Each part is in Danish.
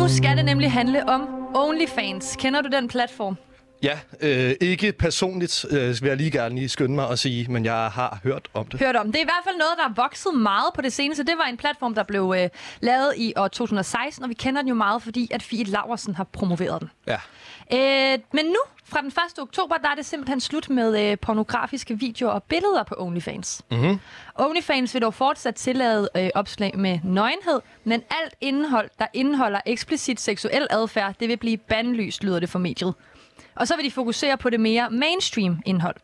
Nu skal det nemlig handle om OnlyFans. Kender du den platform? Ja, øh, ikke personligt øh, vil jeg lige gerne lige skynde mig at sige, men jeg har hørt om det. hørt om. Det er i hvert fald noget, der er vokset meget på det seneste. Det var en platform, der blev øh, lavet i år 2016, og vi kender den jo meget, fordi at Fie Laversen har promoveret den. Ja. Øh, men nu, fra den 1. oktober, der er det simpelthen slut med øh, pornografiske videoer og billeder på OnlyFans. Mm-hmm. OnlyFans vil dog fortsat tillade øh, opslag med nøgenhed, men alt indhold, der indeholder eksplicit seksuel adfærd, det vil blive bandlyst, lyder det for mediet. Og så vil de fokusere på det mere mainstream indhold.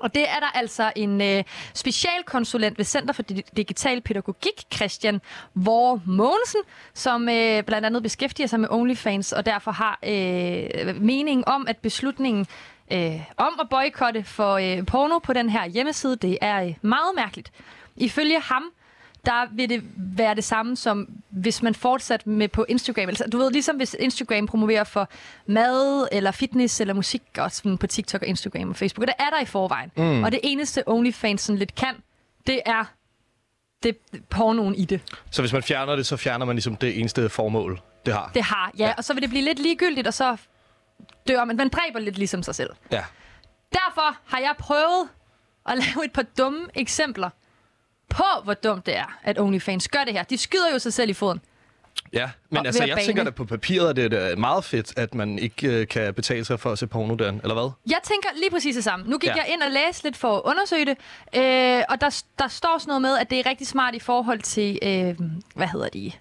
Og det er der altså en øh, specialkonsulent ved Center for Di- Digital Pædagogik, Christian Vore Mogensen, som øh, blandt andet beskæftiger sig med OnlyFans, og derfor har øh, meningen om, at beslutningen øh, om at boykotte for øh, porno på den her hjemmeside, det er øh, meget mærkeligt. Ifølge ham der vil det være det samme som, hvis man fortsat med på Instagram. Altså, du ved, ligesom hvis Instagram promoverer for mad, eller fitness, eller musik, og sådan på TikTok og Instagram og Facebook. Og det er der i forvejen. Mm. Og det eneste OnlyFans sådan lidt kan, det er det pornoen i det. Så hvis man fjerner det, så fjerner man ligesom det eneste formål, det har. Det har, ja. ja. Og så vil det blive lidt ligegyldigt, og så dør man. Man dræber lidt ligesom sig selv. Ja. Derfor har jeg prøvet at lave et par dumme eksempler på, hvor dumt det er, at OnlyFans gør det her. De skyder jo sig selv i foden. Ja, Og men altså, ved at jeg bane. tænker da på papiret, at det er da meget fedt, at man ikke øh, kan betale sig for at se porno, Dan. Eller hvad? Jeg tænker lige præcis det samme. Nu gik ja. Ja. jeg ind og læste lidt for at undersøge det, øh, og der, der står sådan noget med, at det er rigtig smart i forhold til, øh, hvad hedder de,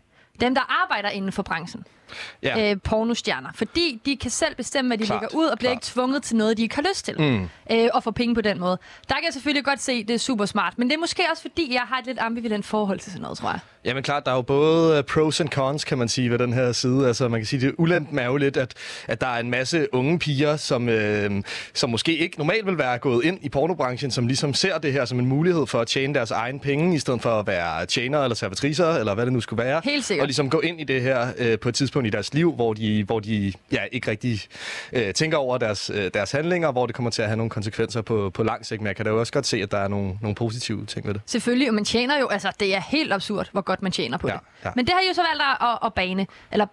dem, der arbejder inden for branchen, Ja. ja. øh, pornostjerner. Fordi de kan selv bestemme, hvad de Klart, lægger ud, og bliver klart. ikke tvunget til noget, de ikke har lyst til, mm. øh, og får penge på den måde. Der kan jeg selvfølgelig godt se, at det er super smart, men det er måske også, fordi jeg har et lidt ambivalent forhold til sådan noget, tror jeg. Jamen klart, der er jo både øh, pros and cons, kan man sige, ved den her side. Altså, man kan sige, det ulempen er jo lidt, at, at der er en masse unge piger, som, øh, som måske ikke normalt vil være gået ind i pornobranchen, som ligesom ser det her som en mulighed for at tjene deres egen penge, i stedet for at være tjenere eller servitriser, eller hvad det nu skulle være. Helt sikkert. Og ligesom gå ind i det her øh, på et tidspunkt i deres liv, hvor de, hvor de ja, ikke rigtig øh, tænker over deres, øh, deres handlinger, hvor det kommer til at have nogle konsekvenser på, på lang sigt. Men jeg kan da jo også godt se, at der er nogle, nogle positive ting ved det. Selvfølgelig, og man tjener jo, altså det er helt absurd, hvor godt man tjener på Ja, det. ja. Men det har I jo så valgt at, at, at bane, eller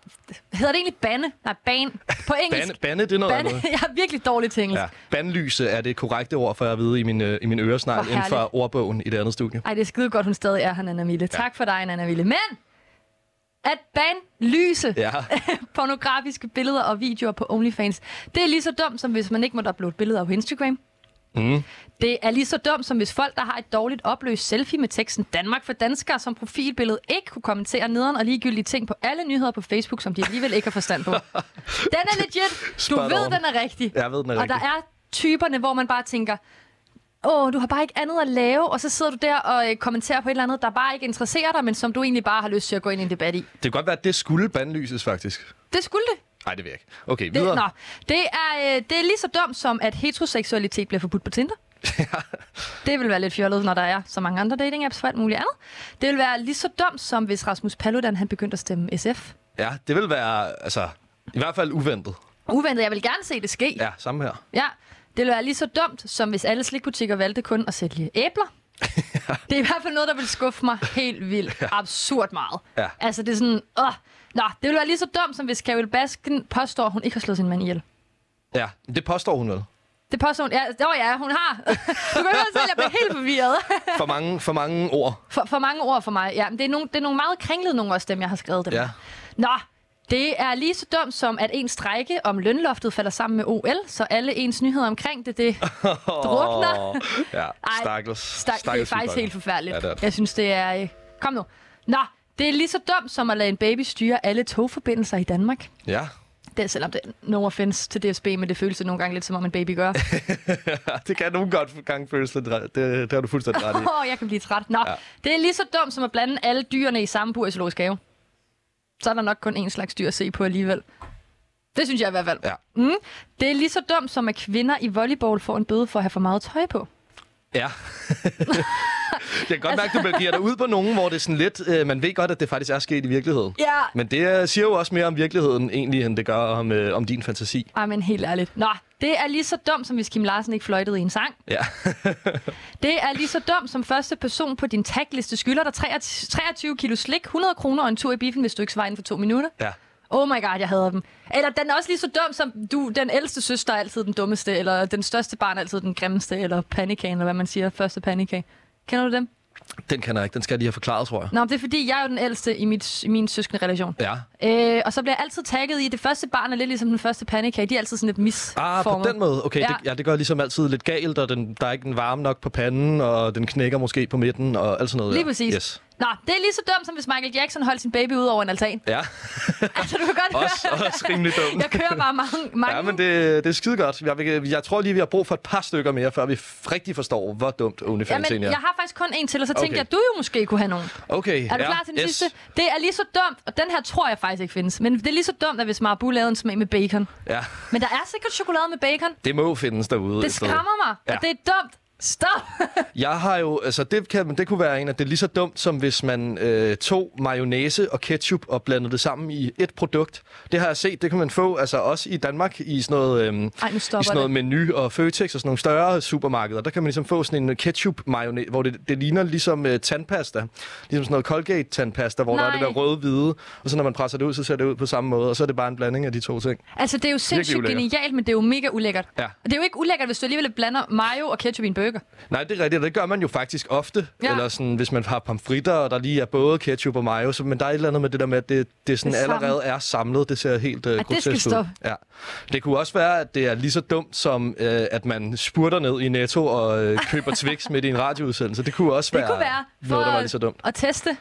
hedder det egentlig bane? Nej, bane på engelsk. Bande, bande det er noget andet. bane. Jeg er virkelig dårlig til engelsk. Ja. Bandlyse er det korrekte ord, for jeg ved i min, øh, i min øresnegl Hvor inden herligt. for ordbogen i det andet studie. Ej, det er skide godt, hun stadig er her, Nana Mille. Tak for dig, Nana Mille. Men at banlyse Ja. pornografiske billeder og videoer på OnlyFans, det er lige så dumt, som hvis man ikke må uploade billeder på Instagram. Mm. Det er lige så dumt, som hvis folk, der har et dårligt opløst selfie med teksten Danmark for danskere som profilbillede, ikke kunne kommentere nederen og ligegyldige ting på alle nyheder på Facebook, som de alligevel ikke har forstand på. den er legit. Du Spot ved, on. den er rigtig. Jeg ved, den er og der rigtig. er typerne, hvor man bare tænker, åh, du har bare ikke andet at lave, og så sidder du der og øh, kommenterer på et eller andet, der bare ikke interesserer dig, men som du egentlig bare har lyst til at gå ind i en debat i. Det kan godt være, at det skulle bandlyses, faktisk. Det skulle det. Nej, det vil jeg ikke. Okay, Det, videre. nå, det, er, øh, det er lige så dumt som, at heteroseksualitet bliver forbudt på Tinder. det vil være lidt fjollet, når der er så mange andre dating apps for alt muligt andet. Det vil være lige så dumt som, hvis Rasmus Paludan han begyndte at stemme SF. Ja, det vil være, altså, i hvert fald uventet. Uventet, jeg vil gerne se det ske. Ja, samme her. Ja, det ville være lige så dumt, som hvis alle slikbutikker valgte kun at sælge æbler. det er i hvert fald noget, der vil skuffe mig helt vildt. Ja. Absurd meget. Ja. Altså, det er sådan... Åh. Nå, det ville være lige så dumt, som hvis Carol Baskin påstår, at hun ikke har slået sin mand ihjel. Ja, det påstår hun vel. Det påstår hun... Ja, oh ja, hun har. du kan høre selv, jeg bliver helt forvirret. For mange, for mange ord. For, for mange ord for mig. Ja, men det er nogle, det er nogle meget kringlede nogle også, dem jeg har skrevet dem. Ja. Nå, det er lige så dumt som, at ens strække om lønloftet falder sammen med OL, så alle ens nyheder omkring det, det drukner. Ja, Ej, stakkels. Stak, det er stakkels faktisk Viborg. helt forfærdeligt. Ja, det er det. Jeg synes, det er... øh, Kom nu. Nå, det er lige så dumt som at lade en baby styre alle togforbindelser i Danmark. Ja, Det er selvom det er no offense til DSB, men det føles det nogle gange lidt som om en baby gør. Åh, det kan nogle godt gange føles lidt ret. Det, det har du fuldstændig ret i. oh, jeg kan blive træt. Nå, ja. det er lige så dumt som at blande alle dyrene i samme bur i zoologisk have. Så er der nok kun én slags dyr at se på alligevel. Det synes jeg i hvert fald. Ja. Mm. Det er lige så dumt som, at kvinder i volleyball får en bøde for at have for meget tøj på. Ja. jeg kan godt mærke, at du begiver dig ud på nogen, hvor det er sådan lidt... Øh, man ved godt, at det faktisk er sket i virkeligheden. Ja. Men det øh, siger jo også mere om virkeligheden egentlig, end det gør om, øh, om din fantasi. Ej, men helt ærligt. Nå, Det er lige så dumt, som hvis Kim Larsen ikke fløjtede i en sang. Ja. Det er lige så dumt, som første person på din tagliste skylder dig 23 23 kilo slik, 100 kroner og en tur i biffen, hvis du ikke svarer inden for to minutter. ja. Oh my god, jeg hader dem. Eller den er også lige så dum som du, den ældste søster er altid den dummeste, eller den største barn er altid den grimmeste, eller pandekagen, eller hvad man siger, første pandekage. Kender du dem? Den kan jeg ikke. Den skal jeg lige have forklaret, tror jeg. Nå, men det er fordi, jeg er jo den ældste i, mit, i min søskende relation. Ja. Øh, og så bliver jeg altid tagget i, at det første barn er lidt ligesom den første pandekage. De er altid sådan lidt Ah, misformet. på den måde. Okay, Ja. ja. Det, ja, det gør ligesom altid lidt galt, og den, der er ikke en varme nok på panden, og den knækker måske på midten, og alt sådan noget. Lige der. præcis. Yes. Nå, det er lige så dumt, som hvis Michael Jackson holdt sin baby ud over en altan. Ja, Altså, du kan godt også, høre, også rimelig dumt. jeg kører bare mange, mange Ja, men det, det er skide godt. Jeg, vil- jeg tror lige, vi har brug for et par stykker mere, før vi f- rigtig forstår, hvor dumt OnlyFans Jamen, egentlig jeg er. har faktisk kun en til, og så tænkte Okay. jeg, at du jo måske kunne have nogen. Okay, Er du ja, klar til den yes. sidste? Det er lige så dumt, og den her tror jeg faktisk ikke findes, men det er lige så dumt, at hvis Marabu lavede en smag med bacon. Ja, Men der er sikkert chokolade med bacon. det må findes derude. Det et sted. skræmmer mig, og Ja. det er dumt. Stop! Jeg har jo, altså det, kan, det kunne være en, at det er lige så dumt, som hvis man øh, tog mayonnaise og ketchup og blandede det sammen i et produkt. Det har jeg set, det kan man få, altså også i Danmark, i sådan noget, øh, Ej, nu i stopper sådan noget menu og Føtex og sådan nogle større supermarkeder. Der kan man ligesom få sådan en ketchup mayonnaise, hvor det, det ligner ligesom øh, tandpasta. Ligesom sådan noget Colgate-tandpasta, hvor der er det Nej. der røde-hvide. Og så når man presser det ud, så ser det ud på samme måde, og så er det bare en blanding af de to ting. det. Altså, det er jo sindssygt ulækkert. genialt, men det er jo mega ulækkert. Ja. Og det er jo ikke ulækkert, hvis du alligevel blander mayo og ketchup i en burger. Nej, det er rigtigt, og det gør man jo faktisk ofte. Ja. Ja. Eller sådan, hvis man har pomfritter, og der lige er både ketchup og mayo, så, men der er et eller andet med det der med, at det, det, sådan Det det er allerede er samlet. Det ser helt øh, det skal grotesk ud. stoppe. Ja. Det kunne også være, at det er lige så dumt som, øh, at man spurter ned i Netto og øh, køber Twix midt i en radioudsendelse. Det kunne også Det være, kunne være noget, der var at- lige så dumt. at teste.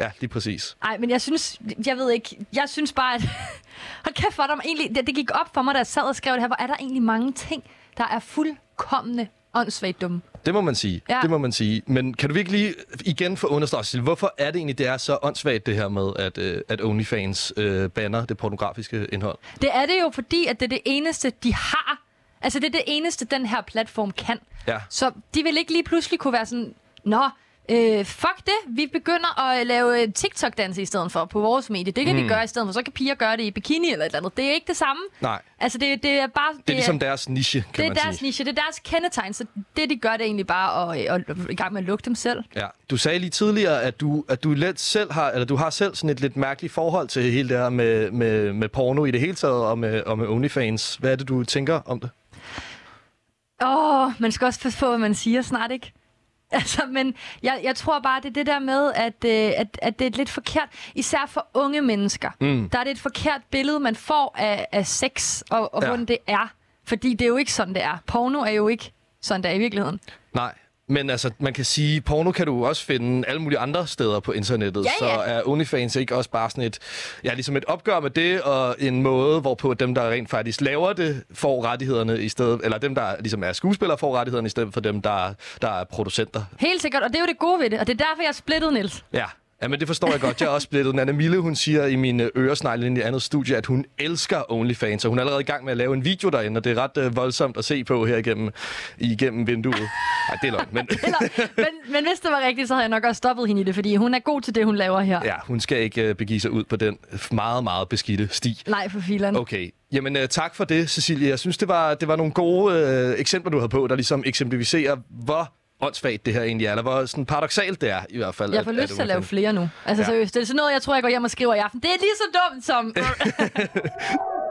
Ja, lige præcis. Nej, men jeg synes, jeg ved ikke, jeg synes bare, at hold kæft, hvor er der egentlig, det, det gik op for mig, da jeg sad og skrev det her, hvor er der egentlig mange ting, der er fuldkommende åndssvagt dumme. Det må man sige. Ja. Ja. Det må man sige. Men kan du virkelig lige igen få understreget, Silje, hvorfor er det egentlig, det er så åndssvagt det her med, at, øh, at OnlyFans øh, banner det pornografiske indhold? Det er det jo, fordi at det er det eneste, de har. Altså, det er det eneste, den her platform kan. Ja. Så de vil ikke lige pludselig kunne være sådan, nå, øh, fuck det, vi begynder at lave øh, TikTok-dans i stedet for på vores medie. Det kan Hmm. mm. vi gøre i stedet for, så kan piger gøre det i bikini eller et eller andet. Det er ikke det samme. Nej. Altså, det, det er bare... Det er ligesom deres niche, kan det er man deres sige. niche, det er deres kendetegn, så det de gør, det er egentlig bare at, at, at i gang med at lukke dem selv. Ja. Du sagde lige tidligere, at du, at du let selv har, eller du har selv sådan et lidt mærkeligt forhold til hele det her med, med, med porno i det hele taget, og med, og med OnlyFans. Hvad er det, du tænker om det? Åh, oh, man skal også passe på, hvad man siger snart, ikke? Altså, men jeg, jeg tror bare, det er det der med, at, øh, at, at det er et lidt forkert, især for unge mennesker, mm. der er det et forkert billede, man får af, af sex, og, og ja. Ja. hvordan det er. Fordi det er jo ikke sådan, det er. Porno er jo ikke sådan, det er i virkeligheden. Nej. Men altså, man kan sige, porno kan du også finde alle mulige andre steder på internettet. Ja, ja. Så er OnlyFans ikke også bare sådan et, ja, ligesom et opgør med det, og en måde, hvorpå dem, der rent faktisk laver det, får rettighederne i stedet, eller dem, der ligesom er skuespillere, får rettighederne i stedet for dem, der, der er producenter Helt sikkert, og det er jo det gode ved det, og det er derfor, jeg er splittet, Niels. Ja. Ja, men det forstår jeg godt. Jeg er også splittet. Nana Mille, hun siger i mine øresnegle inde i et andet studie, at hun elsker OnlyFans, og hun er allerede i gang med at lave en video derinde, og det er ret øh, voldsomt at se på her igennem, igennem vinduet. Nej, det er løgn, men Eller, men, men hvis det var rigtigt, så havde jeg nok også stoppet hende i det, fordi hun er god til det, hun laver her. Ja. ja, hun skal ikke øh, begive sig ud på den meget, meget beskidte sti. Nej, for filan. Okay. Jamen, øh, tak for det, Cecilie. Jeg synes, det var, det var nogle gode øh, eksempler, du havde på, der ligesom eksemplificerer, hvor åndssvagt det her egentlig er, eller hvor sådan paradoxalt det er i hvert fald. Jeg får lyst til at lave flere nu. Altså ja. Ja. seriøst, det er sådan noget, jeg tror, jeg går hjem og skriver i aften. Det er lige så dumt som...